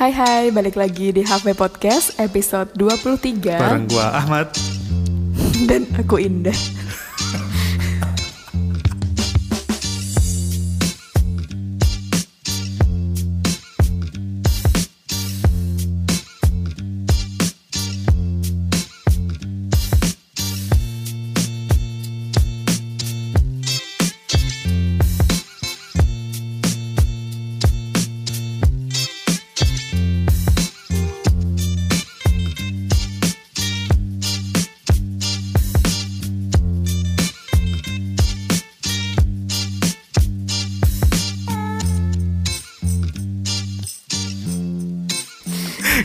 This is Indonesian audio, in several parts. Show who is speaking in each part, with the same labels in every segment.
Speaker 1: Hai hai, balik lagi di Halfway Podcast episode 23
Speaker 2: Bareng gua Ahmad.
Speaker 1: Dan aku Indah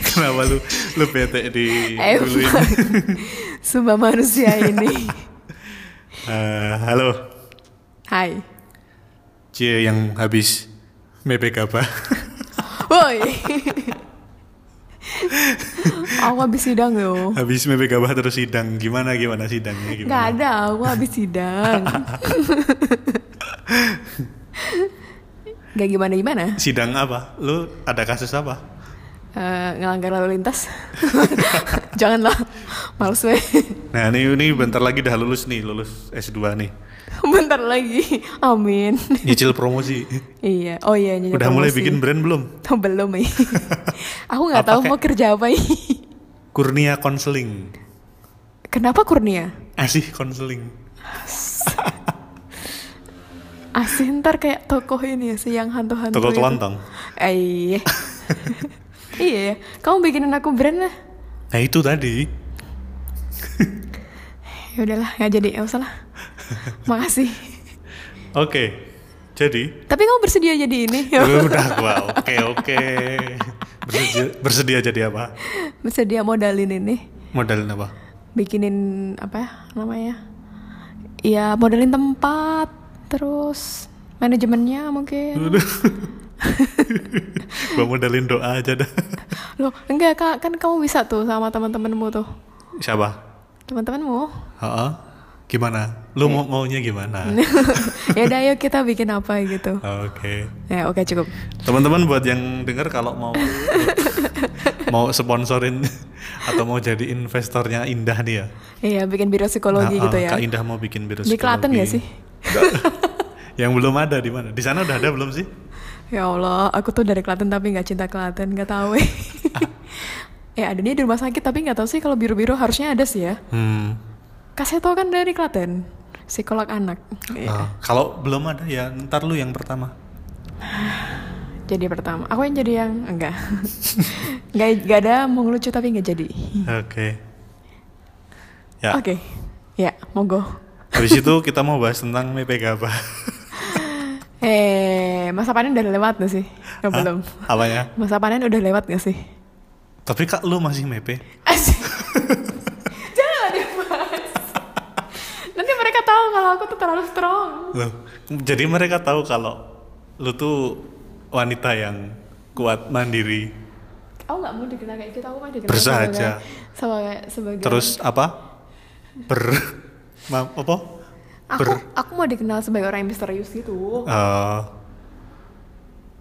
Speaker 2: Kenapa lu lu bete di duluin?
Speaker 1: Emang Sumpah Eh, manusia ini
Speaker 2: Eh, halo,
Speaker 1: Hai
Speaker 2: C yang habis MPK apa?
Speaker 1: Woi Aku habis sidang loh
Speaker 2: habis MPK apa terus sidang? Gimana gimana sidangnya gimana?
Speaker 1: Gak ada, aku habis sidang Gak gimana-gimana
Speaker 2: Sidang apa? Lu ada kasus apa?
Speaker 1: Eh, Ngelanggar lalu lintas Janganlah Males weh
Speaker 2: Nah, ini ini bentar lagi udah lulus nih, lulus S2 nih.
Speaker 1: Bentar lagi Amin
Speaker 2: Nyicil promosi.
Speaker 1: Iya, oh iya nyanyi
Speaker 2: udah mulai
Speaker 1: promosi.
Speaker 2: bikin brand belum?
Speaker 1: belum ih. Aku nggak
Speaker 2: Apa
Speaker 1: tahu
Speaker 2: kayak-
Speaker 1: mau kerja apa ih.
Speaker 2: Kurnia Counseling.
Speaker 1: Kenapa Kurnia?
Speaker 2: Asih Counseling.
Speaker 1: Asih ntar kayak tokoh ini ya, siang hantu-hantu
Speaker 2: Toko
Speaker 1: itu.
Speaker 2: kelontong.
Speaker 1: Eh, iya. iya, ya. kamu bikinin aku brand lah.
Speaker 2: Nah, itu tadi.
Speaker 1: Ya udahlah, nggak jadi, nggak usah lah. Makasih.
Speaker 2: Oke. Jadi,
Speaker 1: Tapi kamu bersedia jadi ini?
Speaker 2: Ya udah gua oke oke bersedia, bersedia jadi apa
Speaker 1: bersedia modalin ini,
Speaker 2: modalin apa
Speaker 1: bikinin apa ya namanya? Iya, modalin tempat, terus manajemennya mungkin.
Speaker 2: Hmm. gua modalin doa aja dah
Speaker 1: Loh, enggak kak, kan kamu bisa tuh sama teman-temanmu tuh.
Speaker 2: siapa
Speaker 1: Teman-temanmu.
Speaker 2: Heeh. gimana lu mau maunya gimana
Speaker 1: ya udah ayo kita bikin apa gitu.
Speaker 2: oke
Speaker 1: Ya oke cukup.
Speaker 2: teman-teman buat yang dengar kalau mau mau sponsorin atau mau jadi investornya Indah nih ya
Speaker 1: Iya, bikin biro psikologi
Speaker 2: Nah,
Speaker 1: gitu
Speaker 2: ah,
Speaker 1: ya.
Speaker 2: Kak Indah mau bikin biro
Speaker 1: Di Klaten
Speaker 2: psikologi.
Speaker 1: nggak sih?
Speaker 2: Nggak. yang belum ada di mana di sana udah ada belum sih
Speaker 1: Ya Allah, aku tuh dari Klaten tapi nggak cinta Klaten, nggak tahu. eh. ya ada dia di rumah sakit tapi nggak tahu sih kalau biro-biro harusnya ada sih ya.
Speaker 2: hmm.
Speaker 1: Kasih tau kan dari Klaten, psikolog anak. Iya,
Speaker 2: Ah, kalau belum ada ya ntar lu yang pertama
Speaker 1: Jadi pertama, aku yang jadi yang enggak. nggak nggak ada mau ngelucu tapi nggak jadi.
Speaker 2: Oke. Ya,
Speaker 1: Oke, ya monggo.
Speaker 2: habis itu kita mau bahas tentang MPK apa?
Speaker 1: Eh, masa panen udah lewat nggak sih? Ya,
Speaker 2: Hah?
Speaker 1: belum.
Speaker 2: Apanya?
Speaker 1: Masa panen udah lewat nggak sih?
Speaker 2: Tapi kak lu masih MP?
Speaker 1: Asik. Jangan dibahas. Nanti mereka tahu kalau aku tuh terlalu strong.
Speaker 2: Loh, jadi mereka tahu kalau lu tuh wanita yang kuat mandiri.
Speaker 1: Aku nggak mau dikenal kayak gitu. Aku mah dikenal
Speaker 2: Bersahaja.
Speaker 1: sebagai sebagai, sebagai
Speaker 2: Terus apa? Ber ma, apa?
Speaker 1: aku
Speaker 2: Ber
Speaker 1: aku mau dikenal sebagai orang yang misterius gitu.
Speaker 2: eh,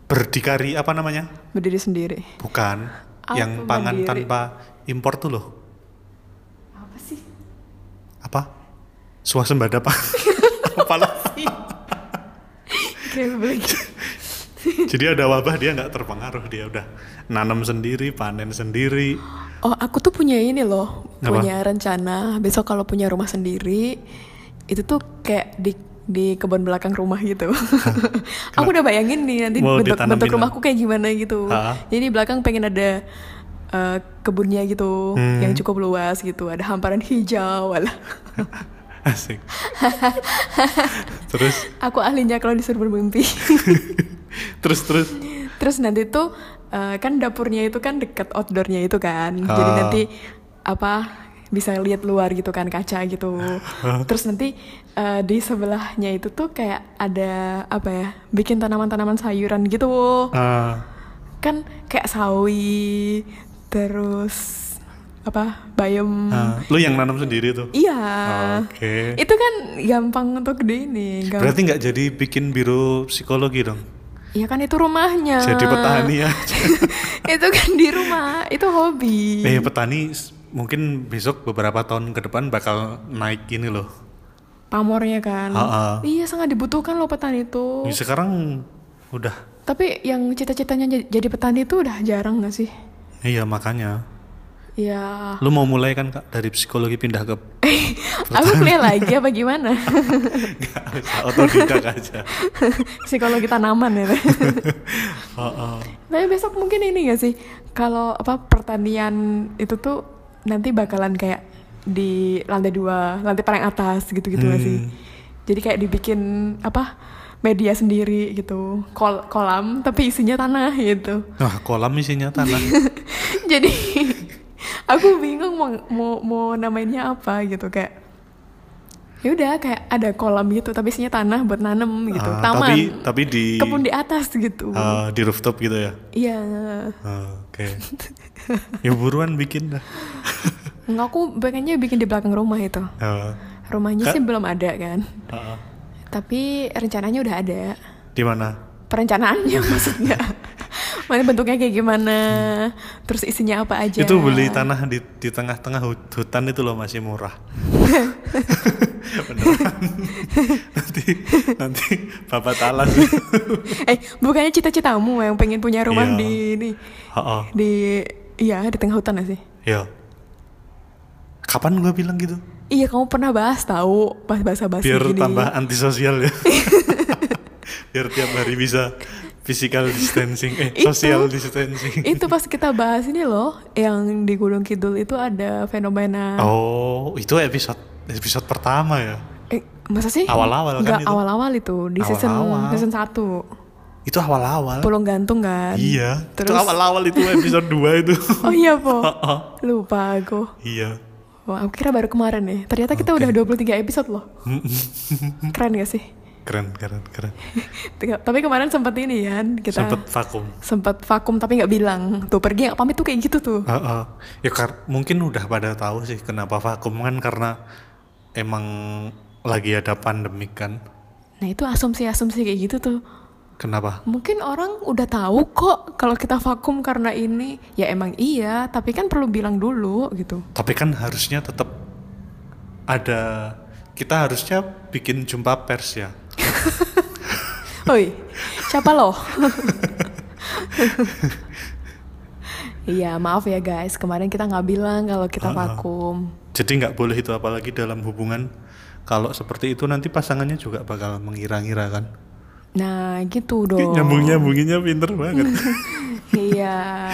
Speaker 2: berdikari apa namanya?
Speaker 1: Berdiri sendiri.
Speaker 2: Bukan
Speaker 1: Apa
Speaker 2: yang pangan
Speaker 1: mandiri?
Speaker 2: tanpa impor tuh loh.
Speaker 1: Apa sih?
Speaker 2: Apa? Swasembada apa? Apalah.
Speaker 1: Kayak beli.
Speaker 2: Jadi ada wabah dia nggak terpengaruh dia udah nanam sendiri, panen sendiri.
Speaker 1: Oh, aku tuh punya ini loh,
Speaker 2: Apa?
Speaker 1: punya rencana besok kalau punya rumah sendiri itu tuh kayak di di kebun belakang rumah gitu. aku udah bayangin nih nanti
Speaker 2: Mau
Speaker 1: bentuk bentuk
Speaker 2: ditanamin
Speaker 1: rumahku kayak gimana gitu.
Speaker 2: Ha?
Speaker 1: Jadi di belakang pengen ada eh, kebunnya gitu
Speaker 2: Hmm.
Speaker 1: yang cukup luas gitu, ada hamparan hijau. Walah.
Speaker 2: Asik. terus
Speaker 1: Aku ahlinya kalau disuruh bermimpi.
Speaker 2: terus terus
Speaker 1: Terus nanti tuh eh, kan dapurnya itu kan dekat outdoornya itu kan. Jadi
Speaker 2: Ah.
Speaker 1: nanti apa bisa lihat luar gitu kan kaca gitu. Terus nanti eh, di sebelahnya itu tuh kayak ada apa ya? Bikin tanaman-tanaman sayuran gitu.
Speaker 2: eh,
Speaker 1: Kan kayak sawi, terus apa? bayam.
Speaker 2: eh, lu yang nanam sendiri tuh.
Speaker 1: Iya.
Speaker 2: Ah, Oke.
Speaker 1: Itu kan gampang untuk di ini. gampang.
Speaker 2: Berarti nggak jadi bikin biro psikologi dong.
Speaker 1: Iya kan itu rumahnya.
Speaker 2: Jadi petani aja.
Speaker 1: itu kan di rumah itu hobi
Speaker 2: Eh petani s- mungkin besok beberapa tahun ke depan bakal naik ini loh.
Speaker 1: pamornya kan
Speaker 2: Ha-ha.
Speaker 1: iya sangat dibutuhkan loh petani itu
Speaker 2: Ini Sekarang udah
Speaker 1: tapi yang cita-citanya j- jadi petani itu udah jarang nggak sih
Speaker 2: iya makanya.
Speaker 1: ya
Speaker 2: Lu mau mulai kan Kak dari psikologi pindah ke
Speaker 1: aku kuliah lagi apa gimana
Speaker 2: Nggak, bisa otodidak aja.
Speaker 1: psikologi tanaman ya
Speaker 2: Heeh.
Speaker 1: tapi besok mungkin ini nggak sih kalau apa pertanian itu tuh nanti bakalan kayak di lantai dua lantai paling atas gitu-gitu nggak sih
Speaker 2: Hmm.
Speaker 1: jadi kayak dibikin apa media sendiri gitu kol kolam tapi isinya tanah gitu
Speaker 2: Wah, Nah, kolam isinya tanah.
Speaker 1: jadi aku bingung mau mau, mau namainnya apa gitu kayak ya udah kayak ada kolam gitu tapi isinya tanah buat nanem gitu
Speaker 2: Ah,
Speaker 1: taman
Speaker 2: Tapi tapi di
Speaker 1: kebun di atas gitu
Speaker 2: ah, di rooftop gitu ya.
Speaker 1: iya
Speaker 2: Ah, Oke. ya buruan bikin dah.
Speaker 1: Enggak, aku pengennya bikin di belakang rumah itu
Speaker 2: Ah,
Speaker 1: rumahnya
Speaker 2: Kak-
Speaker 1: sih belum ada kan
Speaker 2: ah, ah.
Speaker 1: tapi rencananya udah ada
Speaker 2: Di mana?
Speaker 1: perencanaannya maksudnya mana bentuknya kayak gimana terus isinya apa aja
Speaker 2: Itu beli tanah di di tengah-tengah hut- hutan itu loh masih murah. Beneran. nanti nanti bapak talas.
Speaker 1: eh bukannya cita-citamu yang pengen punya rumah
Speaker 2: Iya.
Speaker 1: di ini
Speaker 2: Heeh.
Speaker 1: di iya di tengah hutan gak sih
Speaker 2: Yo. Ya. Kapan gua bilang gitu?
Speaker 1: iya kamu pernah bahas tahu bahas bahasa bahasa
Speaker 2: Biar
Speaker 1: gini
Speaker 2: tambah antisosial ya. Biar tiap hari bisa physical distancing eh
Speaker 1: Itu.
Speaker 2: social distancing.
Speaker 1: itu pas kita bahas ini loh yang di Gunung Kidul itu ada fenomena
Speaker 2: Oh, itu episode episode pertama ya.
Speaker 1: eh, masa sih
Speaker 2: Awal-awal kan
Speaker 1: Nggak,
Speaker 2: itu.
Speaker 1: awal-awal itu di season
Speaker 2: Awal-awal.
Speaker 1: season satu
Speaker 2: Itu awal-awal.
Speaker 1: Pulau Gantung kan
Speaker 2: Iya.
Speaker 1: terus
Speaker 2: Itu awal-awal itu episode 2 itu.
Speaker 1: oh iya po
Speaker 2: Heeh.
Speaker 1: lupa aku
Speaker 2: Iya.
Speaker 1: Wah, aku kira baru kemarin ya. Ternyata kita
Speaker 2: Oke.
Speaker 1: udah 23 episode loh. Keren gak sih?
Speaker 2: keren keren keren
Speaker 1: Tiga- Tapi kemarin sempat ini kan kita
Speaker 2: sempet vakum
Speaker 1: sempat vakum tapi nggak bilang. Tuh pergi nggak pamit tuh kayak gitu tuh.
Speaker 2: Heeh. ya kar- mungkin udah pada tahu sih kenapa vakum kan karena emang lagi ada pandemik kan
Speaker 1: Nah, itu asumsi-asumsi kayak gitu tuh.
Speaker 2: kenapa
Speaker 1: Mungkin orang udah tahu kok kalau kita vakum karena ini. Ya emang iya, tapi kan perlu bilang dulu gitu.
Speaker 2: tapi kan harusnya tetap ada kita harusnya bikin jumpa pers ya
Speaker 1: Oi, siapa loh? Iya, maaf ya guys. Kemarin kita nggak bilang kalau kita
Speaker 2: Uh-uh.
Speaker 1: vakum.
Speaker 2: jadi nggak boleh itu apalagi dalam hubungan kalau seperti itu nanti pasangannya juga bakal mengira-ngira kan
Speaker 1: Nah, gitu dong.
Speaker 2: nyambung nyambunginnya pinter banget
Speaker 1: Iya.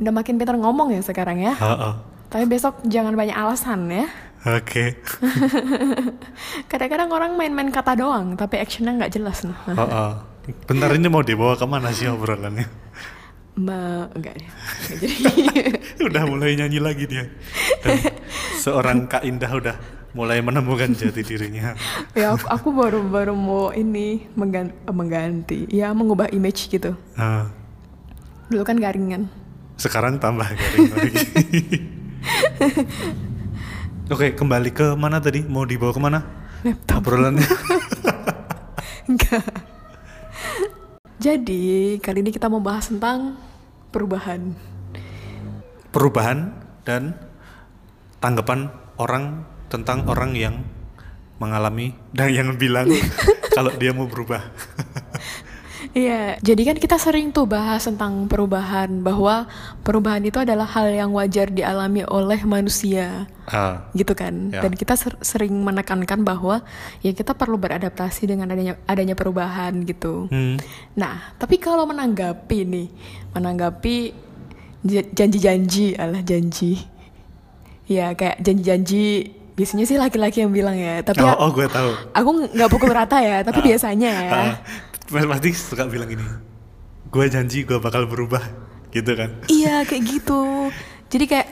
Speaker 1: Udah makin pintar ngomong ya sekarang ya.
Speaker 2: Heeh.
Speaker 1: Tapi besok jangan banyak alasan ya.
Speaker 2: oke
Speaker 1: Kadang-kadang orang main-main kata doang, tapi actionnya nggak jelas. Nah.
Speaker 2: Heeh. bentar ini mau dibawa kemana sih obrolannya
Speaker 1: Mbak, enggak deh. Nggak Jadi,
Speaker 2: udah mulai nyanyi lagi dia Dan seorang kak Indah udah mulai menemukan jati dirinya
Speaker 1: ya aku, aku baru baru mau ini menggan- eh, mengganti, ya mengubah image gitu.
Speaker 2: Nah,
Speaker 1: Dulu kan garingan.
Speaker 2: sekarang tambah garing lagi oke kembali ke mana tadi mau dibawa kemana
Speaker 1: Laptop.
Speaker 2: obrolannya
Speaker 1: Enggak. Jadi, kali ini kita mau bahas tentang perubahan.
Speaker 2: perubahan dan tanggapan orang tentang orang yang mengalami dan yang bilang kalau dia mau berubah
Speaker 1: Iya, jadi kan kita sering tuh bahas tentang perubahan bahwa perubahan itu adalah hal yang wajar dialami oleh manusia,
Speaker 2: Ah,
Speaker 1: gitu kan?
Speaker 2: Ya.
Speaker 1: Dan kita ser- sering menekankan bahwa ya kita perlu beradaptasi dengan adanya adanya perubahan gitu.
Speaker 2: hmm,
Speaker 1: Nah, tapi kalau menanggapi nih, menanggapi j- janji-janji, alah janji. Ya kayak janji-janji biasanya sih laki-laki yang bilang ya, tapi
Speaker 2: oh,
Speaker 1: ya-
Speaker 2: oh gue tahu
Speaker 1: aku nggak pukul rata ya, tapi biasanya ya.
Speaker 2: Ah, pasti suka bilang ini gue janji gue bakal berubah gitu kan
Speaker 1: Iya kayak gitu. Jadi kayak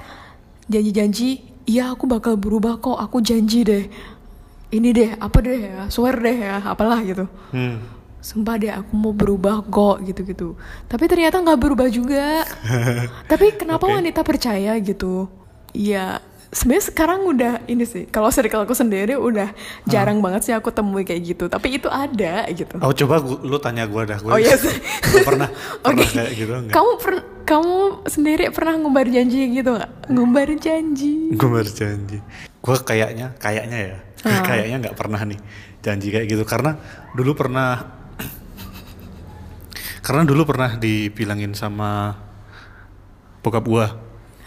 Speaker 1: janji-janji, iya aku bakal berubah kok, aku janji deh. Ini deh, apa deh ya, swear deh ya, apalah gitu.
Speaker 2: hmm.
Speaker 1: Sumpah deh aku mau berubah kok gitu-gitu. Tapi ternyata nggak berubah juga. Tapi kenapa
Speaker 2: Oke.
Speaker 1: wanita percaya gitu? Iya, sebenarnya sekarang udah ini sih kalau circleku sendiri udah
Speaker 2: Ah.
Speaker 1: jarang banget sih aku temui kayak gitu tapi itu ada gitu
Speaker 2: Oh coba gu- lu tanya gue dah gue
Speaker 1: Oh, yes.
Speaker 2: pernah pernah
Speaker 1: Oke.
Speaker 2: kayak gitu enggak?
Speaker 1: kamu per- kamu sendiri pernah ngumbar janji gitu nggak ngumbar janji
Speaker 2: Gue berjanji. Gue kayaknya kayaknya ya
Speaker 1: Ah.
Speaker 2: kayaknya nggak pernah nih janji kayak gitu karena dulu pernah karena dulu pernah dibilangin sama bokap gua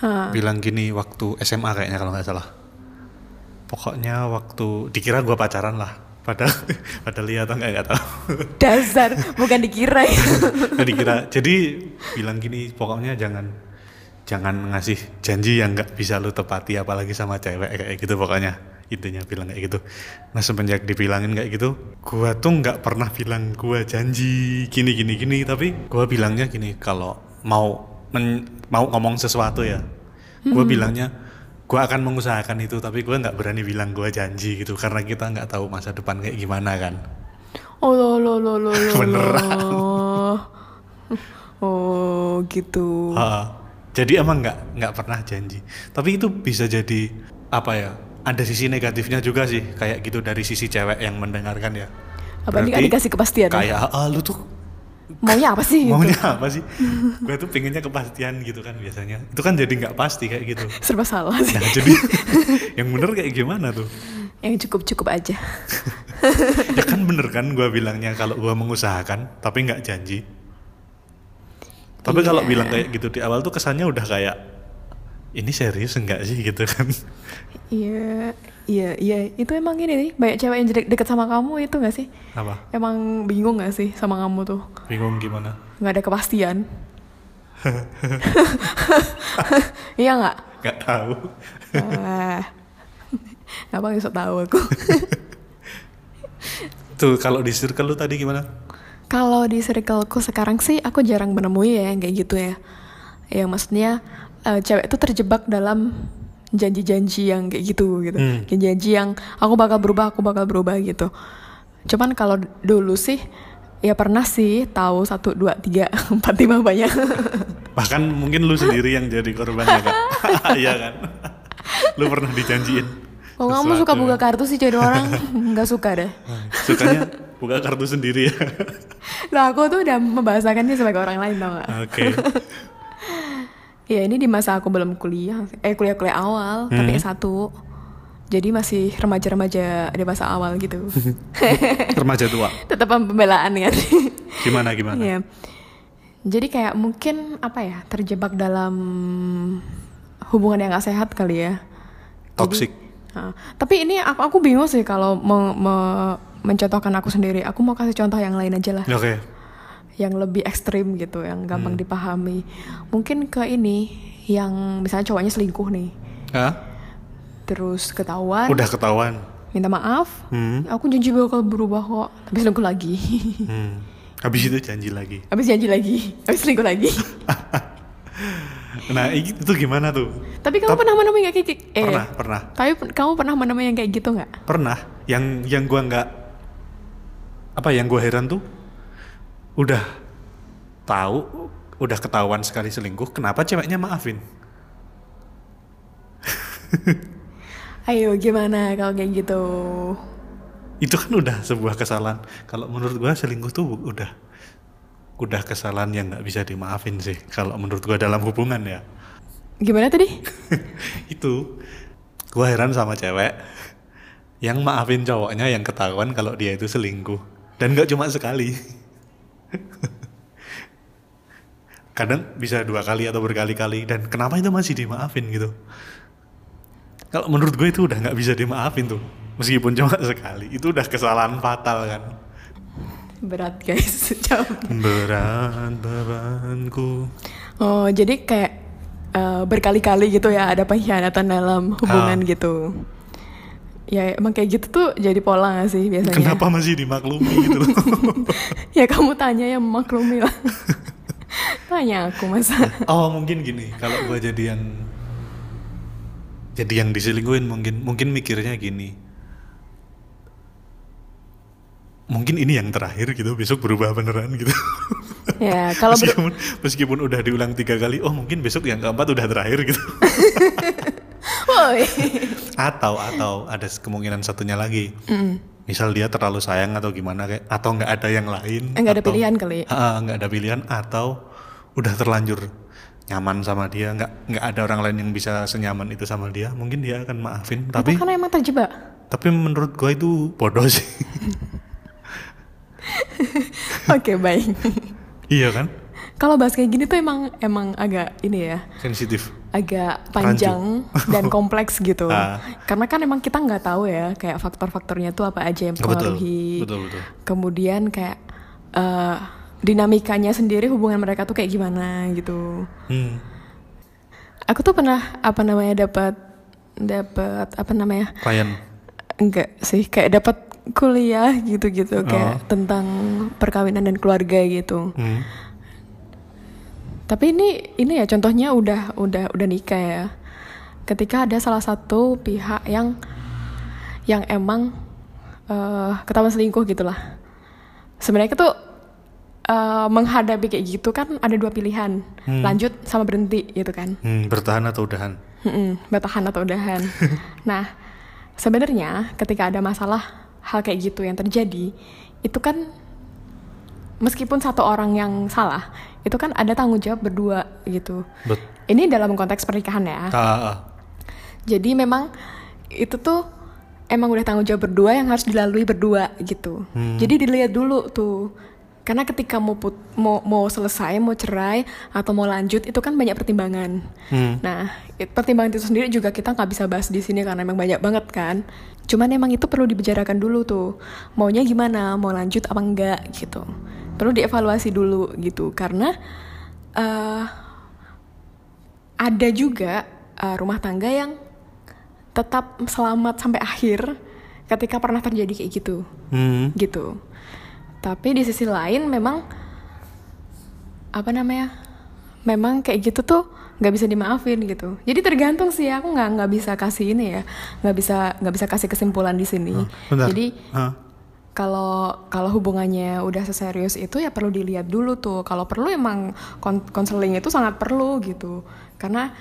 Speaker 1: Hah.
Speaker 2: bilang gini waktu SMA kayaknya kalau nggak salah pokoknya waktu dikira gua pacaran lah padahal padahal iya atau nggak nggak tahu
Speaker 1: dasar bukan dikira ya.
Speaker 2: Nggak Kan dikira. Jadi bilang gini, pokoknya jangan jangan ngasih janji yang nggak bisa lu tepati apalagi sama cewek kayak gitu pokoknya intinya bilang kayak gitu nah semenjak dibilangin kayak gitu gua tuh nggak pernah bilang gua janji gini gini gini tapi gua bilangnya gini kalau mau men- mau ngomong sesuatu ya gua bilangnya gua akan mengusahakan itu tapi gua nggak berani bilang gua janji gitu karena kita nggak tahu masa depan kayak gimana kan
Speaker 1: oh lo lo lo lo lo
Speaker 2: Beneran.
Speaker 1: lo. oh gitu
Speaker 2: Heeh. jadi emang nggak nggak pernah janji. Tapi itu bisa jadi apa ya? Ada sisi negatifnya juga sih, kayak gitu dari sisi cewek yang mendengarkan ya.
Speaker 1: Apa ini nggak
Speaker 2: Berarti
Speaker 1: dikasih kepastian ya?
Speaker 2: Kayak "Ah, lu tuh
Speaker 1: maunya apa sih gitu?
Speaker 2: maunya apa sih? Gue tuh pengennya kepastian gitu kan biasanya. Itu kan jadi nggak pasti kayak gitu.
Speaker 1: serba salah sih
Speaker 2: Nah jadi yang bener kayak gimana tuh?
Speaker 1: yang cukup cukup aja
Speaker 2: Ya kan bener kan gue bilangnya kalau gue mengusahakan tapi nggak janji. Tapi kalau
Speaker 1: Iya.
Speaker 2: bilang kayak gitu di awal tuh kesannya udah kayak ini serius enggak sih gitu kan?
Speaker 1: Iya, iya, iya. Itu emang ini nih, banyak cewek yang de- deket sama kamu itu gak sih?
Speaker 2: Apa?
Speaker 1: Emang bingung gak sih sama kamu tuh?
Speaker 2: Bingung gimana?
Speaker 1: Gak ada kepastian. iya gak?
Speaker 2: Gak tahu.
Speaker 1: Wah. Apa yang sok tahu aku?
Speaker 2: Tuh kalau di circle lu tadi gimana?
Speaker 1: Kalau di circleku sekarang sih aku jarang menemui ya yang kayak gitu ya. Yang maksudnya eh, cewek tuh terjebak dalam janji-janji yang kayak gitu gitu.
Speaker 2: Hmm.
Speaker 1: Kayak janji yang aku bakal berubah, aku bakal berubah gitu. Cuman kalau d- dulu sih ya pernah sih tahu satu dua tiga empat lima banyak.
Speaker 2: Bahkan mungkin lu sendiri yang jadi korbannya kan? Iya kan? lu pernah dijanjiin.
Speaker 1: Kalau kamu suka
Speaker 2: sesuatu. ya. Ah,
Speaker 1: buka kartu sih jadi orang nggak suka deh.
Speaker 2: Sukanya buka kartu sendiri ya.
Speaker 1: Nah aku tuh udah membahasakannya sebagai orang lain tau gak?
Speaker 2: Oke.
Speaker 1: Ya ini di masa aku belum kuliah, eh kuliah-kuliah awal, tapi S1. Jadi masih remaja-remaja di masa awal gitu.
Speaker 2: Remaja tua.
Speaker 1: Tetap pembelaan kan.
Speaker 2: Gimana gimana?
Speaker 1: Iya. Jadi kayak mungkin apa ya, terjebak dalam hubungan yang gak sehat kali ya.
Speaker 2: Toxic.
Speaker 1: Nah, tapi ini aku aku bingung sih kalau me- me- mencontohkan aku sendiri. Aku mau kasih contoh yang lain aja lah
Speaker 2: Oke.
Speaker 1: yang lebih ekstrim gitu, yang gampang
Speaker 2: Hmm.
Speaker 1: dipahami. Mungkin ke ini, yang misalnya cowoknya selingkuh nih,
Speaker 2: Hah?
Speaker 1: terus ketahuan,
Speaker 2: Udah ketahuan.
Speaker 1: minta maaf,
Speaker 2: Hmm.
Speaker 1: aku janji bakal berubah kok, tapi selingkuh lagi,
Speaker 2: Hmm. Habis itu janji lagi.
Speaker 1: habis janji lagi, habis selingkuh lagi.
Speaker 2: Nah, i- itu gimana tuh?
Speaker 1: tapi kamu pernah menemui nggak kayak kayak- eh,
Speaker 2: Pernah, pernah.
Speaker 1: Tapi pen- kamu pernah menemui yang kayak gitu nggak?
Speaker 2: pernah yang yang gua nggak apa yang gua heran tuh udah tahu udah ketahuan sekali selingkuh kenapa ceweknya maafin
Speaker 1: Ayo gimana kalau kayak gitu?
Speaker 2: itu kan udah sebuah kesalahan kalau menurut gua selingkuh tuh udah udah kesalahan yang nggak bisa dimaafin sih kalau menurut gua dalam hubungan ya
Speaker 1: Gimana tadi?
Speaker 2: itu gua heran sama cewek yang maafin cowoknya yang ketahuan kalau dia itu selingkuh dan nggak cuma sekali kadang bisa dua kali atau berkali-kali dan kenapa itu masih dimaafin gitu kalau menurut gue itu udah nggak bisa dimaafin tuh meskipun cuma sekali itu udah kesalahan fatal kan
Speaker 1: Berat guys, jawab.
Speaker 2: berat bebanku
Speaker 1: Oh jadi kayak eh, berkali-kali gitu ya ada pengkhianatan dalam hubungan
Speaker 2: Ah.
Speaker 1: gitu. Ya emang kayak gitu tuh jadi pola nggak sih biasanya?
Speaker 2: kenapa masih dimaklumi gitu loh
Speaker 1: ya kamu tanya yang memaklumi lah. tanya aku masa.
Speaker 2: Oh mungkin gini, kalau gua jadi yang jadi yang diselingkuhin mungkin mungkin mikirnya gini. Mungkin ini yang terakhir gitu, besok berubah beneran gitu.
Speaker 1: Ya kalau ber-
Speaker 2: meskipun, meskipun udah diulang tiga kali, oh mungkin besok yang keempat udah terakhir gitu.
Speaker 1: Woi.
Speaker 2: atau atau ada kemungkinan satunya lagi misal dia terlalu sayang atau gimana kayak atau nggak ada yang lain
Speaker 1: Eh, Nggak ada
Speaker 2: atau-
Speaker 1: pilihan kali.
Speaker 2: Ah, nggak ada pilihan atau udah terlanjur nyaman sama dia nggak nggak ada orang lain yang bisa senyaman itu sama dia mungkin dia akan maafin tapi
Speaker 1: Karena emang terjebak.
Speaker 2: tapi menurut gua itu bodoh sih
Speaker 1: Oke, baik.
Speaker 2: iya kan
Speaker 1: Kalau bahas kayak gini tuh emang emang agak ini ya,
Speaker 2: sensitif
Speaker 1: agak panjang dan kompleks gitu.
Speaker 2: Ah.
Speaker 1: Karena kan emang kita nggak tahu ya kayak faktor-faktornya tuh apa aja yang
Speaker 2: betul
Speaker 1: mempengaruhi.
Speaker 2: betul betul
Speaker 1: Kemudian kayak eh, dinamikanya sendiri hubungan mereka tuh kayak gimana gitu.
Speaker 2: Hmm.
Speaker 1: Aku tuh pernah apa namanya dapat dapat apa namanya
Speaker 2: klien
Speaker 1: enggak sih kayak dapat kuliah gitu-gitu
Speaker 2: Oh.
Speaker 1: kayak tentang perkawinan dan keluarga gitu.
Speaker 2: Hmm.
Speaker 1: Tapi ini ini ya contohnya udah udah udah nikah ya. Ketika ada salah satu pihak yang yang emang eh, ketahuan selingkuh gitulah. Sebenarnya itu eh, menghadapi kayak gitu kan ada dua pilihan, lanjut sama berhenti gitu kan.
Speaker 2: Hmm, bertahan atau udahan
Speaker 1: Mm-mm, bertahan atau udahan. nah, sebenarnya ketika ada masalah hal kayak gitu yang terjadi, itu kan meskipun satu orang yang salah, itu kan ada tanggung jawab berdua gitu.
Speaker 2: bet
Speaker 1: Ini dalam konteks pernikahan ya.
Speaker 2: ah, ah, ah.
Speaker 1: Jadi memang itu tuh emang udah tanggung jawab berdua yang harus dilalui berdua gitu. Jadi dilihat dulu tuh. Karena ketika mau put, mau mau selesai, mau cerai atau mau lanjut itu kan banyak pertimbangan.
Speaker 2: Hmm.
Speaker 1: Nah, it- pertimbangan itu sendiri juga kita nggak bisa bahas di sini karena emang banyak banget kan. Cuman emang itu perlu dibicarakan dulu tuh. Maunya gimana, mau lanjut apa enggak gitu. Perlu dievaluasi dulu gitu karena eh ada juga eh, rumah tangga yang tetap selamat sampai akhir ketika pernah terjadi kayak gitu
Speaker 2: Hmm.
Speaker 1: gitu. Tapi di sisi lain memang apa namanya? Memang kayak gitu tuh nggak bisa dimaafin gitu. Jadi tergantung sih aku nggak nggak bisa kasih ini ya, nggak bisa nggak bisa kasih kesimpulan di sini.
Speaker 2: hmm. Bentar.
Speaker 1: Jadi
Speaker 2: Ah.
Speaker 1: kalau kalau hubungannya udah seserius itu ya perlu dilihat dulu tuh. Kalau perlu emang kon- konseling itu sangat perlu gitu. Karena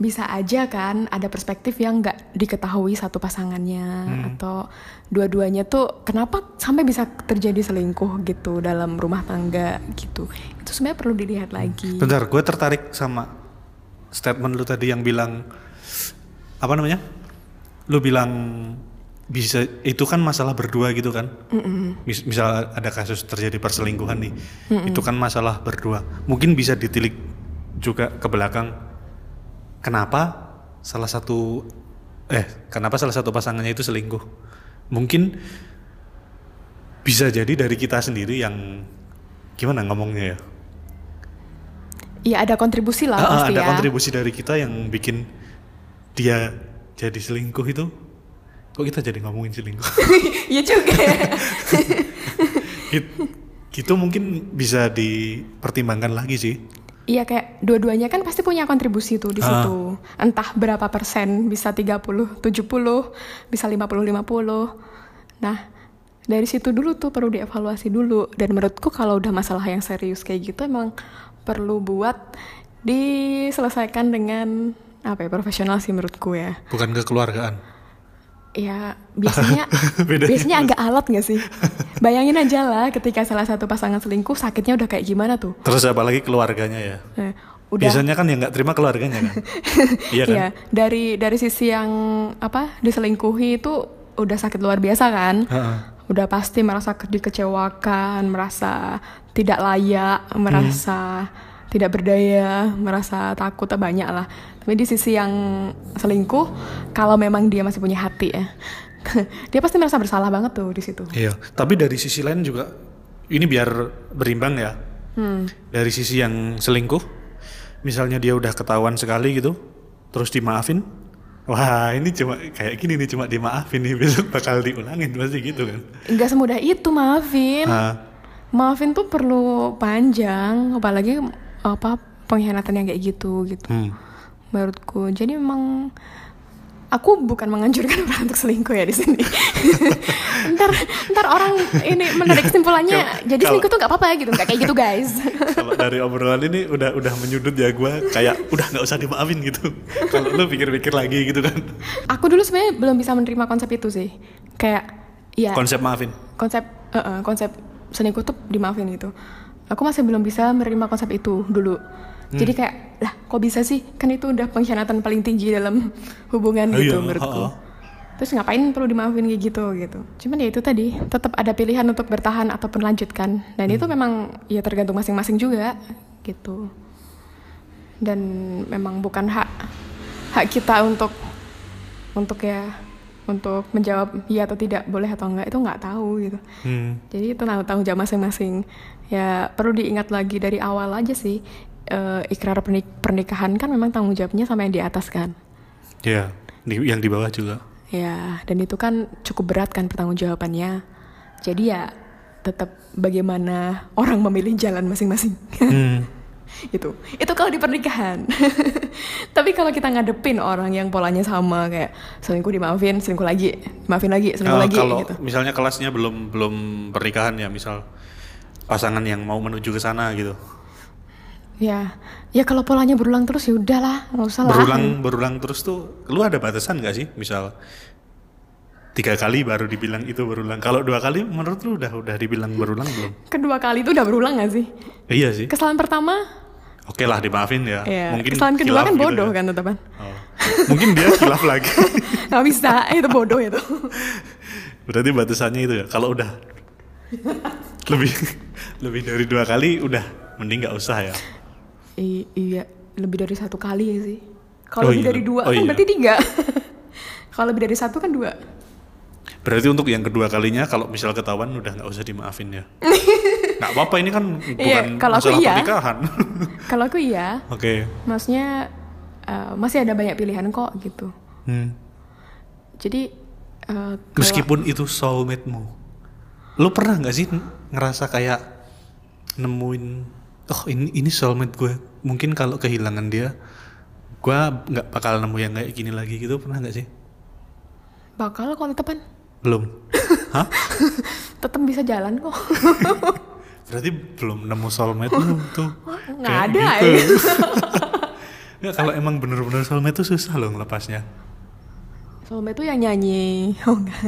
Speaker 1: bisa aja kan ada perspektif yang nggak diketahui satu pasangannya
Speaker 2: Hmm.
Speaker 1: atau dua-duanya tuh kenapa sampai bisa terjadi selingkuh gitu dalam rumah tangga gitu. Itu sebenarnya perlu dilihat lagi.
Speaker 2: Bentar, gue tertarik sama statement lu tadi yang bilang apa namanya? Lu bilang bisa itu kan masalah berdua gitu kan? Mis- misal ada kasus terjadi perselingkuhan nih, itu kan masalah berdua. Mungkin bisa ditilik juga ke belakang. Kenapa salah satu eh kenapa salah satu pasangannya itu selingkuh? Mungkin bisa jadi dari kita sendiri yang gimana ngomongnya ya?
Speaker 1: Ya ada kontribusi lah
Speaker 2: Ah, ah,
Speaker 1: pasti
Speaker 2: ada
Speaker 1: ya.
Speaker 2: kontribusi dari kita yang bikin dia jadi selingkuh itu kok kita jadi ngomongin selingkuh
Speaker 1: Iya juga.
Speaker 2: Git- gitu mungkin bisa dipertimbangkan lagi sih
Speaker 1: Iya kayak dua-duanya kan pasti punya kontribusi tuh di
Speaker 2: Ah.
Speaker 1: situ. Entah berapa persen, bisa 30, 70, bisa 50, 50. Nah, dari situ dulu tuh perlu dievaluasi dulu. Dan menurutku kalau udah masalah yang serius kayak gitu emang perlu buat diselesaikan dengan apa ya profesional sih menurutku ya.
Speaker 2: bukan kekeluargaan
Speaker 1: Ya biasanya
Speaker 2: Bedanya
Speaker 1: biasanya agak alat gak sih? Bayangin aja lah ketika salah satu pasangan selingkuh sakitnya udah kayak gimana tuh.
Speaker 2: terus apalagi keluarganya ya
Speaker 1: Eh, udah
Speaker 2: biasanya kan yang nggak terima keluarganya kan iya kan
Speaker 1: Iya, dari dari sisi yang apa diselingkuhi itu udah sakit luar biasa kan?
Speaker 2: Heeh.
Speaker 1: Udah pasti merasa ke- dikecewakan, merasa tidak layak, merasa
Speaker 2: Hmm.
Speaker 1: tidak berdaya, merasa takut banyak lah. Tapi di sisi yang selingkuh, kalau memang dia masih punya hati ya, dia pasti merasa bersalah banget tuh di situ.
Speaker 2: Iya, tapi dari sisi lain juga ini biar berimbang ya. Dari sisi yang selingkuh, misalnya dia udah ketahuan sekali gitu, terus dimaafin. Wah, ini cuma kayak gini nih cuma dimaafin nih besok bakal diulangin pasti gitu kan.
Speaker 1: Enggak semudah itu maafin.
Speaker 2: Nah,
Speaker 1: Maafin tuh perlu panjang, apalagi apa pengkhianatan yang kayak gitu gitu.
Speaker 2: hmm.
Speaker 1: menurutku jadi memang aku bukan menganjurkan orang untuk selingkuh ya di sini. ntar ntar orang ini menarik kesimpulannya
Speaker 2: kalau-
Speaker 1: jadi
Speaker 2: kalau-
Speaker 1: selingkuh tuh nggak apa-apa gitu, nggak kayak gitu guys.
Speaker 2: kalau dari obrolan ini udah udah menyudut ya gue kayak udah nggak usah dimaafin gitu kalau lu pikir-pikir lagi gitu kan
Speaker 1: aku dulu sebenarnya belum bisa menerima konsep itu sih. Kayak ya
Speaker 2: konsep maafin
Speaker 1: konsep eh, eh, konsep selingkuh tuh dimaafin gitu aku masih belum bisa menerima konsep itu dulu jadi kayak lah kok bisa sih kan itu udah pengkhianatan paling tinggi dalam hubungan
Speaker 2: Oh
Speaker 1: gitu
Speaker 2: iya,
Speaker 1: menurutku
Speaker 2: ha-ha.
Speaker 1: terus ngapain perlu dimaafin kayak gitu gitu cuman ya itu tadi tetap ada pilihan untuk bertahan ataupun lanjutkan dan itu memang ya tergantung masing-masing juga gitu dan memang bukan hak hak kita untuk untuk ya untuk menjawab iya atau tidak boleh atau enggak itu nggak tahu gitu
Speaker 2: hmm.
Speaker 1: jadi itu tanggung tanggung jawab masing-masing ya perlu diingat lagi dari awal aja sih Eh, ikrar pernik- pernikahan kan memang tanggung jawabnya sama yang di atas kan
Speaker 2: ya di- yang di bawah juga
Speaker 1: ya dan itu kan cukup berat kan pertanggung jawabannya jadi ya tetap bagaimana orang memilih jalan masing-masing
Speaker 2: hmm.
Speaker 1: gitu itu kalau di pernikahan tapi kalau kita ngadepin orang yang polanya sama kayak selingkuh dimaafin selingkuh lagi maafin lagi selingkuh
Speaker 2: Nah,
Speaker 1: lagi
Speaker 2: kalau
Speaker 1: gitu
Speaker 2: misalnya kelasnya belum belum pernikahan ya misal pasangan yang mau menuju ke sana gitu
Speaker 1: ya ya kalau polanya berulang terus ya udahlah nggak usah lah
Speaker 2: berulang berulang terus tuh lu ada batasan gak sih misal tiga kali baru dibilang itu berulang kalau dua kali menurut lu udah udah dibilang berulang belum
Speaker 1: kedua kali itu udah berulang gak sih
Speaker 2: Eh, iya sih
Speaker 1: kesalahan pertama
Speaker 2: oke lah dimaafin ya,
Speaker 1: ya
Speaker 2: mungkin
Speaker 1: kesalahan kedua
Speaker 2: hilaf
Speaker 1: kan
Speaker 2: gitu
Speaker 1: bodoh
Speaker 2: ya.
Speaker 1: kan teman
Speaker 2: Oh. mungkin dia kilaf lagi
Speaker 1: nggak bisa eh, itu bodoh itu
Speaker 2: berarti batasannya itu ya kalau udah lebih lebih dari dua kali udah mending nggak usah ya
Speaker 1: I- iya lebih dari satu kali ya sih kalau
Speaker 2: Oh
Speaker 1: lebih
Speaker 2: iya,
Speaker 1: dari dua
Speaker 2: oh
Speaker 1: kan
Speaker 2: iya.
Speaker 1: berarti tiga kalau lebih dari satu kan dua
Speaker 2: Berarti untuk yang kedua kalinya kalau misal ketahuan udah nggak usah dimaafin ya. Nggak apa-apa ini kan bukan
Speaker 1: Iya, kalau aku
Speaker 2: masalah
Speaker 1: iya.
Speaker 2: pernikahan.
Speaker 1: kalau aku iya
Speaker 2: Oke.
Speaker 1: maksudnya eh, masih ada banyak pilihan kok gitu
Speaker 2: Hmm.
Speaker 1: jadi eh, kalau-
Speaker 2: Meskipun itu soulmate-mu. Lu pernah nggak sih ngerasa kayak nemuin oh ini ini soulmate gue. Mungkin kalau kehilangan dia gue nggak bakal nemu yang kayak gini lagi gitu pernah nggak sih?
Speaker 1: bakal kok tetepan
Speaker 2: Belum. Hah?
Speaker 1: tetep bisa jalan kok
Speaker 2: Berarti belum nemu soulmate lu tuh.
Speaker 1: nggak
Speaker 2: Kayak
Speaker 1: ada
Speaker 2: gitu.
Speaker 1: ya.
Speaker 2: Ya, kalau emang bener-bener soulmate tuh susah loh ngelepasnya.
Speaker 1: Soulmate itu yang nyanyi oh enggak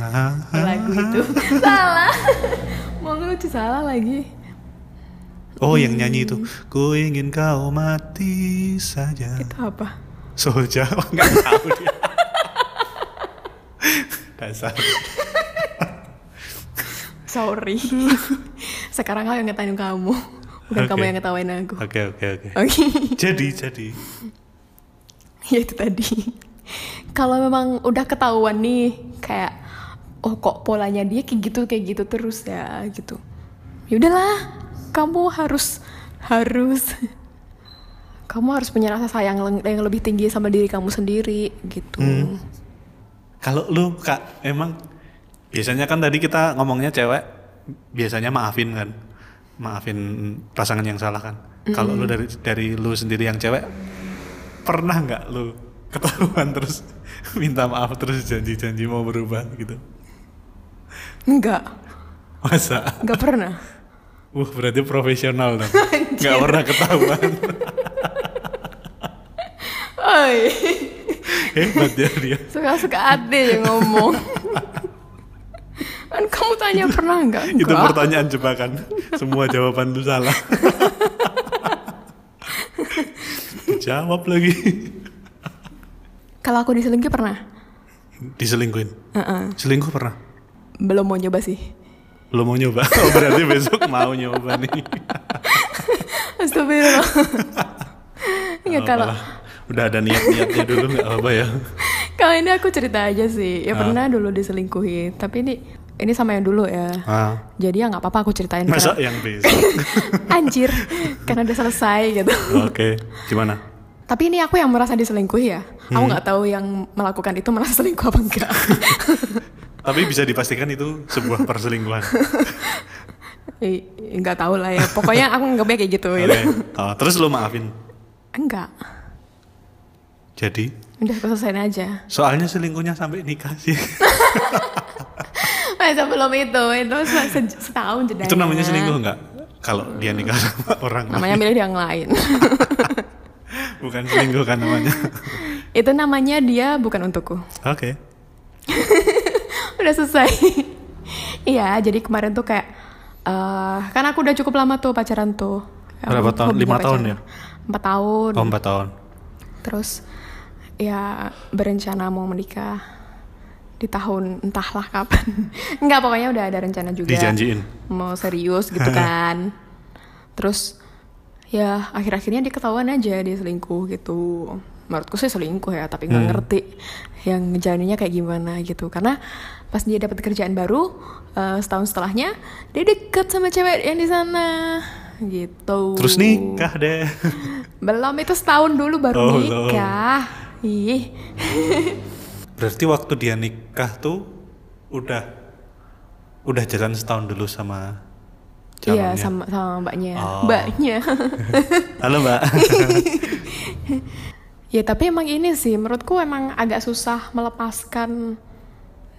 Speaker 2: Hah?
Speaker 1: lagu itu salah mau lucu salah lagi
Speaker 2: Oh yang nyanyi itu Ku ingin kau mati saja
Speaker 1: itu apa
Speaker 2: Soja oh, nggak tahu dia Dasar
Speaker 1: sorry sekarang aku yang ngetain kamu bukan kamu
Speaker 2: Oke.
Speaker 1: yang ngetawain aku oke
Speaker 2: Oke oke oke Jadi jadi
Speaker 1: ya itu tadi kalau memang udah ketahuan nih kayak oh kok polanya dia kayak gitu kayak gitu terus ya gitu ya udahlah kamu harus harus kamu harus punya rasa sayang leng- yang lebih tinggi sama diri kamu sendiri gitu
Speaker 2: Hmm. Kalau lu kak emang Biasanya kan tadi kita ngomongnya cewek Biasanya maafin kan Maafin pasangan yang salah kan Kalau lu dari dari lu sendiri yang cewek Pernah nggak lu ketahuan terus minta maaf terus janji-janji mau berubah gitu
Speaker 1: enggak
Speaker 2: masa
Speaker 1: enggak pernah
Speaker 2: Wah berarti profesional dong.
Speaker 1: Anjir.
Speaker 2: Gak pernah ketahuan.
Speaker 1: Oi,
Speaker 2: Hebat ya dia.
Speaker 1: suka-suka ate yang ngomong. kan kamu tanya pernah nggak?
Speaker 2: Itu
Speaker 1: Nggak.
Speaker 2: pertanyaan jebakan. Semua jawaban lu salah. Dijawab lagi.
Speaker 1: Kalau aku diselingkuh pernah?
Speaker 2: Diselingkuhin.
Speaker 1: Heeh.
Speaker 2: Selingkuh pernah.
Speaker 1: Belum mau nyoba sih.
Speaker 2: Lu mau nyoba? Oh, berarti besok mau nyoba nih.
Speaker 1: Astagfirullah. Enggak
Speaker 2: Nggak
Speaker 1: Iya, kalau
Speaker 2: apa-apa. udah ada niat-niatnya dulu nggak apa ya.
Speaker 1: kalau ini aku cerita aja sih. Ya
Speaker 2: Ah.
Speaker 1: pernah dulu diselingkuhi, tapi ini ini sama yang dulu ya.
Speaker 2: Ah.
Speaker 1: Jadi ya nggak apa-apa aku ceritain.
Speaker 2: Masa
Speaker 1: karena-
Speaker 2: iya? yang besok.
Speaker 1: Anjir, karena udah selesai gitu.
Speaker 2: Oke, gimana?
Speaker 1: Tapi ini aku yang merasa diselingkuhi ya.
Speaker 2: Hmm.
Speaker 1: Aku nggak tahu yang melakukan itu merasa selingkuh apa enggak.
Speaker 2: Tapi bisa dipastikan itu sebuah perselingkuhan.
Speaker 1: Eh, nggak tahu lah ya. Oh,
Speaker 2: Ah,
Speaker 1: Pokoknya aku nggak kayak gitu.
Speaker 2: Oke.
Speaker 1: gitu.
Speaker 2: Ah, terus lu maafin.
Speaker 1: Enggak.
Speaker 2: Jadi
Speaker 1: Udah aku selesain aja.
Speaker 2: soalnya selingkuhnya sampai nikah sih.
Speaker 1: Masa belum itu, itu se- se- setahun jedanya.
Speaker 2: Itu namanya selingkuh nggak? Kalau dia nikah sama orang lain.
Speaker 1: Namanya milih yang lain.
Speaker 2: bukan selingkuh kan namanya.
Speaker 1: itu namanya dia bukan untukku.
Speaker 2: Oke.
Speaker 1: udah selesai iya jadi kemarin tuh kayak eh kan aku udah cukup lama tuh pacaran tuh
Speaker 2: Berapa tahun?
Speaker 1: Hobinya
Speaker 2: Lima tahun ya?
Speaker 1: pacaran. empat tahun
Speaker 2: Oh, empat tahun.
Speaker 1: terus ya berencana mau menikah di tahun entahlah kapan nggak pokoknya udah ada rencana juga
Speaker 2: Dijanjiin.
Speaker 1: mau serius gitu kan terus ya akhir-akhirnya dia ketahuan aja dia selingkuh gitu menurutku sih selingkuh ya tapi nggak
Speaker 2: Hmm.
Speaker 1: ngerti yang ngejalaninnya kayak gimana gitu karena pas dia dapat kerjaan baru eh, setahun setelahnya dia deket sama cewek yang di sana gitu
Speaker 2: Terus nikah deh.
Speaker 1: belum itu setahun dulu baru
Speaker 2: Oh, belum.
Speaker 1: nikah ih
Speaker 2: Berarti waktu dia nikah tuh udah udah jalan setahun dulu sama calonnya.
Speaker 1: iya sama sama mbaknya
Speaker 2: Oh.
Speaker 1: mbaknya
Speaker 2: Halo Mbak.
Speaker 1: Ya tapi emang ini sih menurutku emang agak susah melepaskan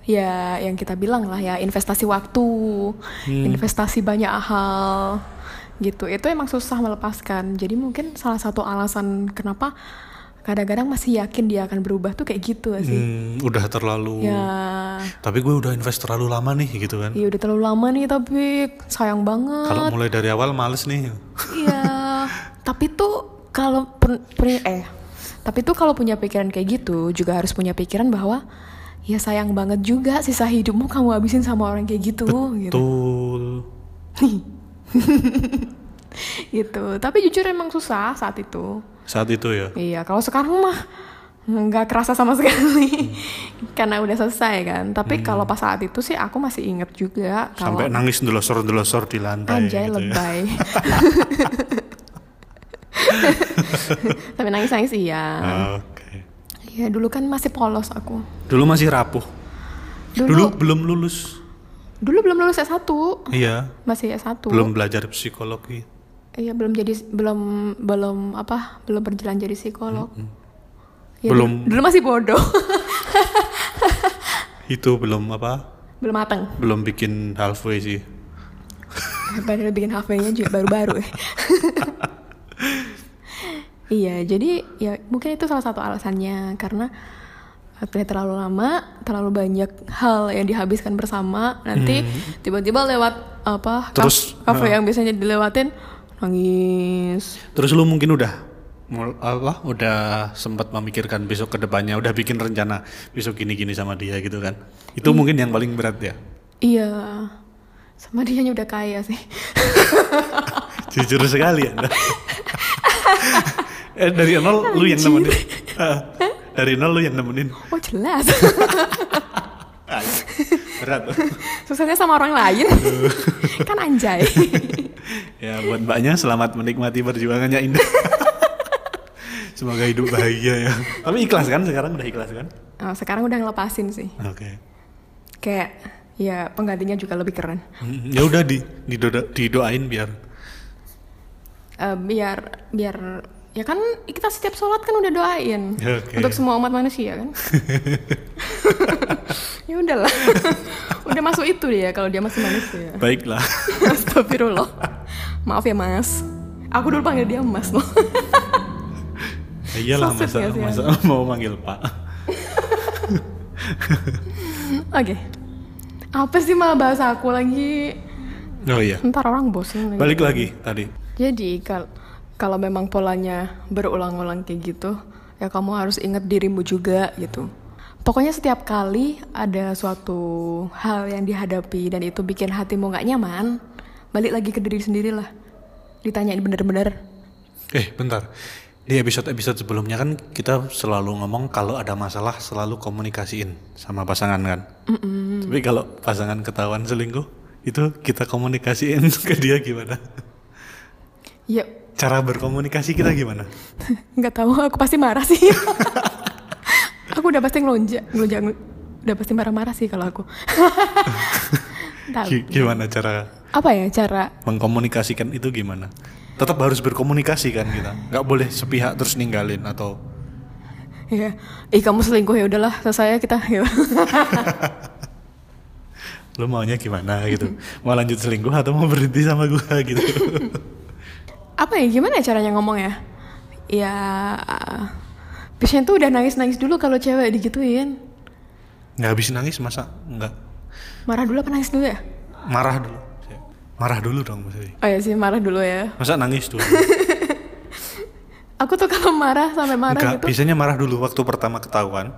Speaker 1: ya yang kita bilang lah ya investasi waktu,
Speaker 2: Hmm.
Speaker 1: investasi banyak hal gitu. Itu emang susah melepaskan. Jadi mungkin salah satu alasan kenapa kadang-kadang masih yakin dia akan berubah tuh kayak gitu gak sih.
Speaker 2: Hmm, udah terlalu.
Speaker 1: Ya,
Speaker 2: Tapi gue udah invest terlalu lama nih gitu kan.
Speaker 1: ya udah terlalu lama nih tapi sayang banget.
Speaker 2: Kalau mulai dari awal males nih.
Speaker 1: Iya, tapi tuh kalau per- per- eh tapi tuh kalau punya pikiran kayak gitu juga harus punya pikiran bahwa ya sayang banget juga sisa hidupmu kamu habisin sama orang kayak gitu gitu.
Speaker 2: Betul.
Speaker 1: Gitu. Tapi jujur emang susah saat itu.
Speaker 2: Saat itu ya.
Speaker 1: Iya, kalau sekarang mah nggak kerasa sama sekali karena udah selesai kan. Tapi kalau pas saat itu sih aku masih inget juga kalau
Speaker 2: Hmm. Sampai nangis delosor-delosor di lantai
Speaker 1: Anjay
Speaker 2: gitu ya.
Speaker 1: lebay. Tapi nangis-nangis
Speaker 2: Ah.
Speaker 1: iya.
Speaker 2: Oke.
Speaker 1: Iya dulu kan masih polos aku.
Speaker 2: Dulu masih rapuh. Dulu
Speaker 1: Dulu
Speaker 2: belum lulus.
Speaker 1: dulu belum lulus S1.
Speaker 2: Iya.
Speaker 1: Masih S1.
Speaker 2: belum belajar psikologi
Speaker 1: Iya belum jadi belum belum apa? Belum berjalan jadi psikolog. Iya,
Speaker 2: Belum-
Speaker 1: dulu, dulu masih bodoh.
Speaker 2: itu belum apa
Speaker 1: belum mateng.
Speaker 2: belum bikin halfway sih
Speaker 1: Padahal bikin HP-nya juga baru-baru. ya. iya, jadi ya mungkin itu salah satu alasannya karena akhirnya terlalu lama, terlalu banyak hal yang dihabiskan bersama. Nanti tiba-tiba lewat apa? kaf-
Speaker 2: Terus,
Speaker 1: kafe yang biasanya dilewatin nangis.
Speaker 2: terus lu mungkin udah mul- apa udah sempat memikirkan besok kedepannya udah bikin rencana besok gini gini sama dia gitu kan itu mungkin yang paling berat ya
Speaker 1: Iya. Sama dia udah kaya sih.
Speaker 2: jujur sekali ya. anda eh dari nol lu yang nemenin Eh, dari nol lu yang nemenin
Speaker 1: Oh, jelas.
Speaker 2: Ah, berat
Speaker 1: Susahnya sama orang lain. kan anjay.
Speaker 2: ya buat mbaknya selamat menikmati perjuangannya indah semoga hidup bahagia ya tapi ikhlas kan sekarang udah ikhlas kan
Speaker 1: Nah, sekarang udah ngelepasin sih.
Speaker 2: Oke.
Speaker 1: kayak ya penggantinya juga lebih keren
Speaker 2: Mm, Ya udah di didoda- didoain biar
Speaker 1: Eh, biar biar ya kan kita setiap sholat kan udah doain
Speaker 2: Ya, oke.
Speaker 1: untuk semua umat manusia kan ya udahlah udah masuk itu dia kalau dia masih manusia
Speaker 2: baiklah.
Speaker 1: Astagfirullah maaf ya mas aku dulu panggil dia mas loh
Speaker 2: Ya Iyalah
Speaker 1: Sosit
Speaker 2: masa
Speaker 1: nggak sih,
Speaker 2: masa mau manggil Pak.
Speaker 1: oke apa sih malah bahas aku lagi
Speaker 2: Oh iya.
Speaker 1: ntar orang bosen lagi
Speaker 2: Balik lagi tadi.
Speaker 1: Jadi kalau kalau memang polanya berulang-ulang kayak gitu, ya kamu harus ingat dirimu juga gitu. Pokoknya setiap kali ada suatu hal yang dihadapi dan itu bikin hatimu nggak nyaman, balik lagi ke diri sendirilah. Ditanyain bener-bener.
Speaker 2: Eh, bentar. Di episode-episode sebelumnya kan kita selalu ngomong kalau ada masalah selalu komunikasiin sama pasangan kan. Tapi kalau pasangan ketahuan selingkuh itu kita komunikasiin ke dia gimana?
Speaker 1: Ya
Speaker 2: Cara berkomunikasi kita gimana?
Speaker 1: nggak tahu, aku pasti marah sih. aku udah pasti ngelonjak, ngelonjak, ngel- udah pasti marah-marah sih kalau aku. Tapi
Speaker 2: Gi- Gimana cara
Speaker 1: apa ya cara
Speaker 2: mengkomunikasikan itu gimana? gitu. Tetap harus berkomunikasi kan kita, nggak boleh sepihak terus ninggalin atau
Speaker 1: Iya. Ih kamu selingkuh ya udahlah selesai ya kita. Iya.
Speaker 2: Lu maunya gimana gitu? Mau lanjut selingkuh atau mau berhenti sama gua gitu?
Speaker 1: Apa ya gimana caranya ngomong ya? Ya biasanya tuh udah nangis-nangis dulu kalau cewek digituin.
Speaker 2: Nggak habis nangis masa nggak
Speaker 1: Marah dulu apa nangis dulu ya?
Speaker 2: marah dulu? Marah dulu dong maksudnya.
Speaker 1: Oh ya sih marah dulu ya.
Speaker 2: Masa nangis dulu?
Speaker 1: Aku tuh kalau marah sampai marah
Speaker 2: Enggak,
Speaker 1: gitu.
Speaker 2: biasanya marah dulu waktu pertama ketahuan.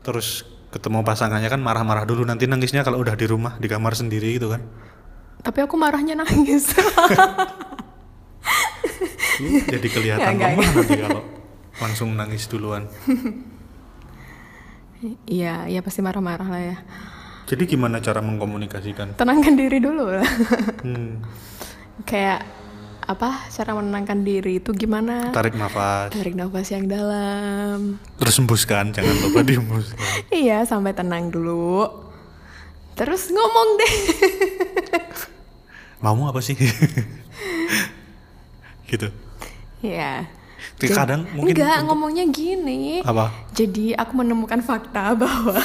Speaker 2: Terus ketemu pasangannya kan marah-marah dulu nanti nangisnya kalau udah di rumah di kamar sendiri gitu kan.
Speaker 1: Tapi aku marahnya nangis.
Speaker 2: Lu jadi kelihatan
Speaker 1: Enggak,
Speaker 2: lemah nanti kalau langsung nangis duluan.
Speaker 1: Iya, iya pasti marah-marah lah ya.
Speaker 2: Jadi gimana cara mengkomunikasikan?
Speaker 1: Tenangkan diri dulu lah.
Speaker 2: Hmm,
Speaker 1: Kayak apa cara menenangkan diri itu gimana?
Speaker 2: tarik nafas,
Speaker 1: Tarik nafas yang dalam.
Speaker 2: terus hembuskan, jangan lupa dihembuskan.
Speaker 1: Iya, sampai tenang dulu. Terus ngomong deh.
Speaker 2: Maumu apa sih? gitu.
Speaker 1: Iya.
Speaker 2: Tapi kadang
Speaker 1: Jadi-
Speaker 2: mungkin
Speaker 1: enggak
Speaker 2: untuk-
Speaker 1: ngomongnya gini.
Speaker 2: apa?
Speaker 1: Jadi aku menemukan fakta bahwa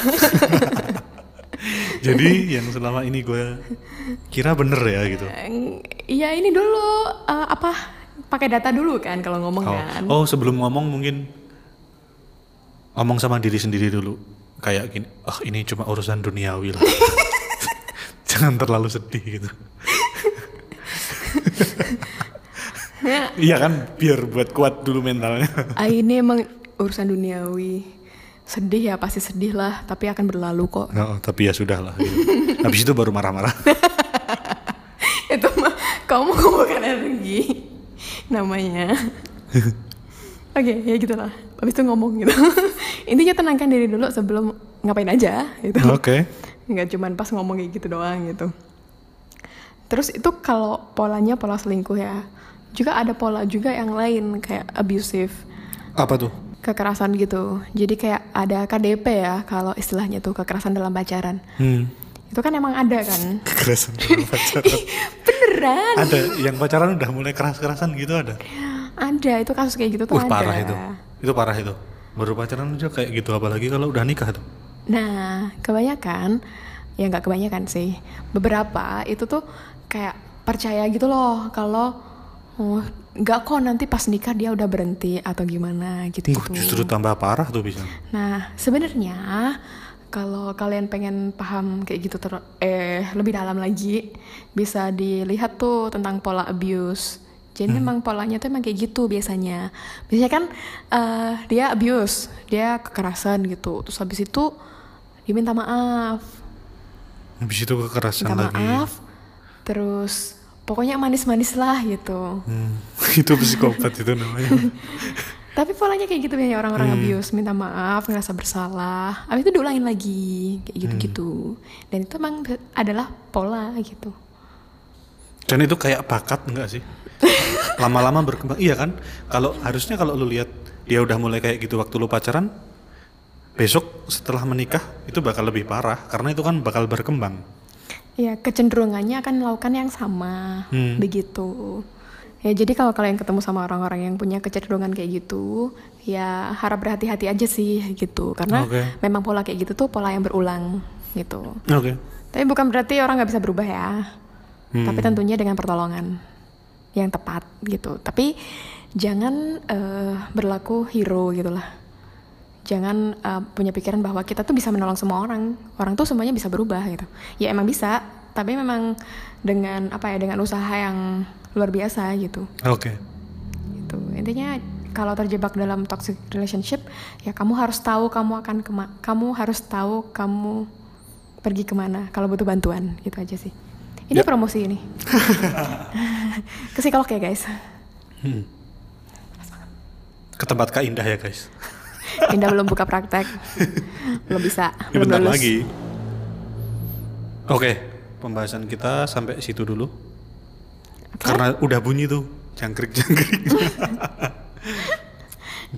Speaker 2: Jadi yang selama ini gue kira bener ya gitu.
Speaker 1: Iya ini dulu eh, apa pakai data dulu kan kalau ngomong
Speaker 2: Oh,
Speaker 1: kan.
Speaker 2: oh, sebelum ngomong mungkin ngomong sama diri sendiri dulu. Kayak gini, oh ini cuma urusan duniawi lah. Jangan terlalu sedih gitu.
Speaker 1: Ya,
Speaker 2: Iya kan, biar buat kuat dulu mentalnya.
Speaker 1: ah, ini emang urusan duniawi. Sedih ya pasti sedih lah, tapi akan berlalu kok.
Speaker 2: No, tapi ya sudah lah. Gitu. Habis itu baru marah-marah.
Speaker 1: Itu mah kamu bukan energi namanya. Oke, ya gitulah. Habis itu ngomong gitu. Intinya tenangkan diri dulu sebelum ngapain aja gitu.
Speaker 2: Oke.
Speaker 1: nggak cuman pas ngomong kayak gitu doang gitu terus itu kalau polanya pola selingkuh ya juga ada pola juga yang lain kayak abusive
Speaker 2: Apa tuh?
Speaker 1: kekerasan gitu jadi kayak ada KDP ya kalau istilahnya tuh kekerasan dalam pacaran
Speaker 2: Hmm.
Speaker 1: itu kan emang ada kan
Speaker 2: Kekerasan dalam pacaran.
Speaker 1: beneran
Speaker 2: ada yang pacaran udah mulai keras-kerasan gitu ada.
Speaker 1: ada itu kasus kayak gitu tuh
Speaker 2: Wah
Speaker 1: ada
Speaker 2: parah itu. Itu parah itu. Baru pacaran aja kayak gitu apalagi kalau udah nikah tuh.
Speaker 1: Nah, kebanyakan ya nggak kebanyakan sih. Beberapa itu tuh kayak percaya gitu loh kalau oh, nggak kok nanti pas nikah dia udah berhenti atau gimana gitu
Speaker 2: Uh, justru
Speaker 1: gitu.
Speaker 2: tambah parah tuh bisa.
Speaker 1: Nah, sebenarnya kalau kalian pengen paham kayak gitu ter eh lebih dalam lagi bisa dilihat tuh tentang pola abuse. Jadi memang polanya tuh emang kayak gitu biasanya. Biasanya kan eh, dia abuse, dia kekerasan gitu. Terus habis itu diminta maaf,
Speaker 2: Habis itu kekerasan
Speaker 1: minta
Speaker 2: lagi.
Speaker 1: maaf. Terus pokoknya manis-manis lah gitu.
Speaker 2: Hmm, itu psikopat itu namanya.
Speaker 1: Tapi polanya kayak gitu ya
Speaker 2: Hmm.
Speaker 1: orang-orang abuse, minta maaf, ngerasa bersalah, habis itu diulangin lagi, kayak
Speaker 2: Hmm.
Speaker 1: gitu-gitu. Dan itu emang be- adalah pola gitu.
Speaker 2: Dan itu kayak bakat enggak sih? Lama-lama berkembang. Iya kan? Kalau harusnya kalau lu lihat dia udah mulai kayak gitu waktu lu pacaran, besok setelah menikah itu bakal lebih parah karena itu kan bakal berkembang.
Speaker 1: Ya, kecenderungannya akan melakukan yang sama,
Speaker 2: Hmm.
Speaker 1: begitu. Ya, jadi kalau kalian ketemu sama orang-orang yang punya kecenderungan kayak gitu, ya harap berhati-hati aja sih gitu. Karena
Speaker 2: Oke.
Speaker 1: memang pola kayak gitu tuh pola yang berulang gitu.
Speaker 2: Oke.
Speaker 1: Tapi bukan berarti orang nggak bisa berubah ya. Tapi tentunya dengan pertolongan yang tepat gitu. Tapi jangan eh, berlaku hero gitu lah. Jangan eh, punya pikiran bahwa kita tuh bisa menolong semua orang. Orang tuh semuanya bisa berubah gitu. Ya emang bisa, tapi memang dengan apa ya dengan usaha yang luar biasa gitu.
Speaker 2: Oke.
Speaker 1: Gitu. Intinya kalau terjebak dalam toxic relationship, ya kamu harus tahu kamu akan kema kamu harus tahu kamu pergi kemana kalau butuh bantuan gitu aja sih. Ini
Speaker 2: Ya.
Speaker 1: promosi ini. Ke psikolog ya guys.
Speaker 2: Hmm. Ke tempat Kak Indah ya, guys.
Speaker 1: Indah belum buka praktek, belum bisa.
Speaker 2: Ya,
Speaker 1: belum
Speaker 2: bentar
Speaker 1: lulus.
Speaker 2: lagi. Oke, pembahasan kita sampai situ dulu.
Speaker 1: Oke.
Speaker 2: Karena udah bunyi tuh jangkrik-jangkrik.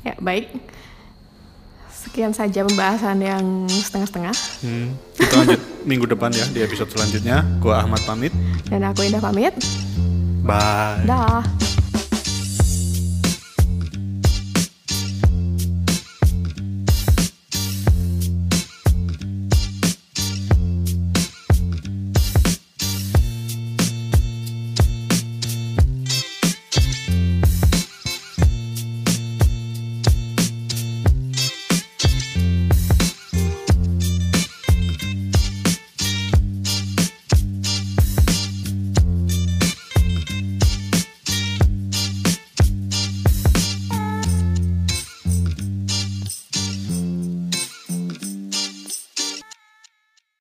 Speaker 1: Ya baik. Sekian saja pembahasan yang setengah-setengah
Speaker 2: Hmm, kita lanjut minggu depan ya di episode selanjutnya. Gua Ahmad pamit.
Speaker 1: dan aku Indah pamit.
Speaker 2: Bye.
Speaker 1: Dah.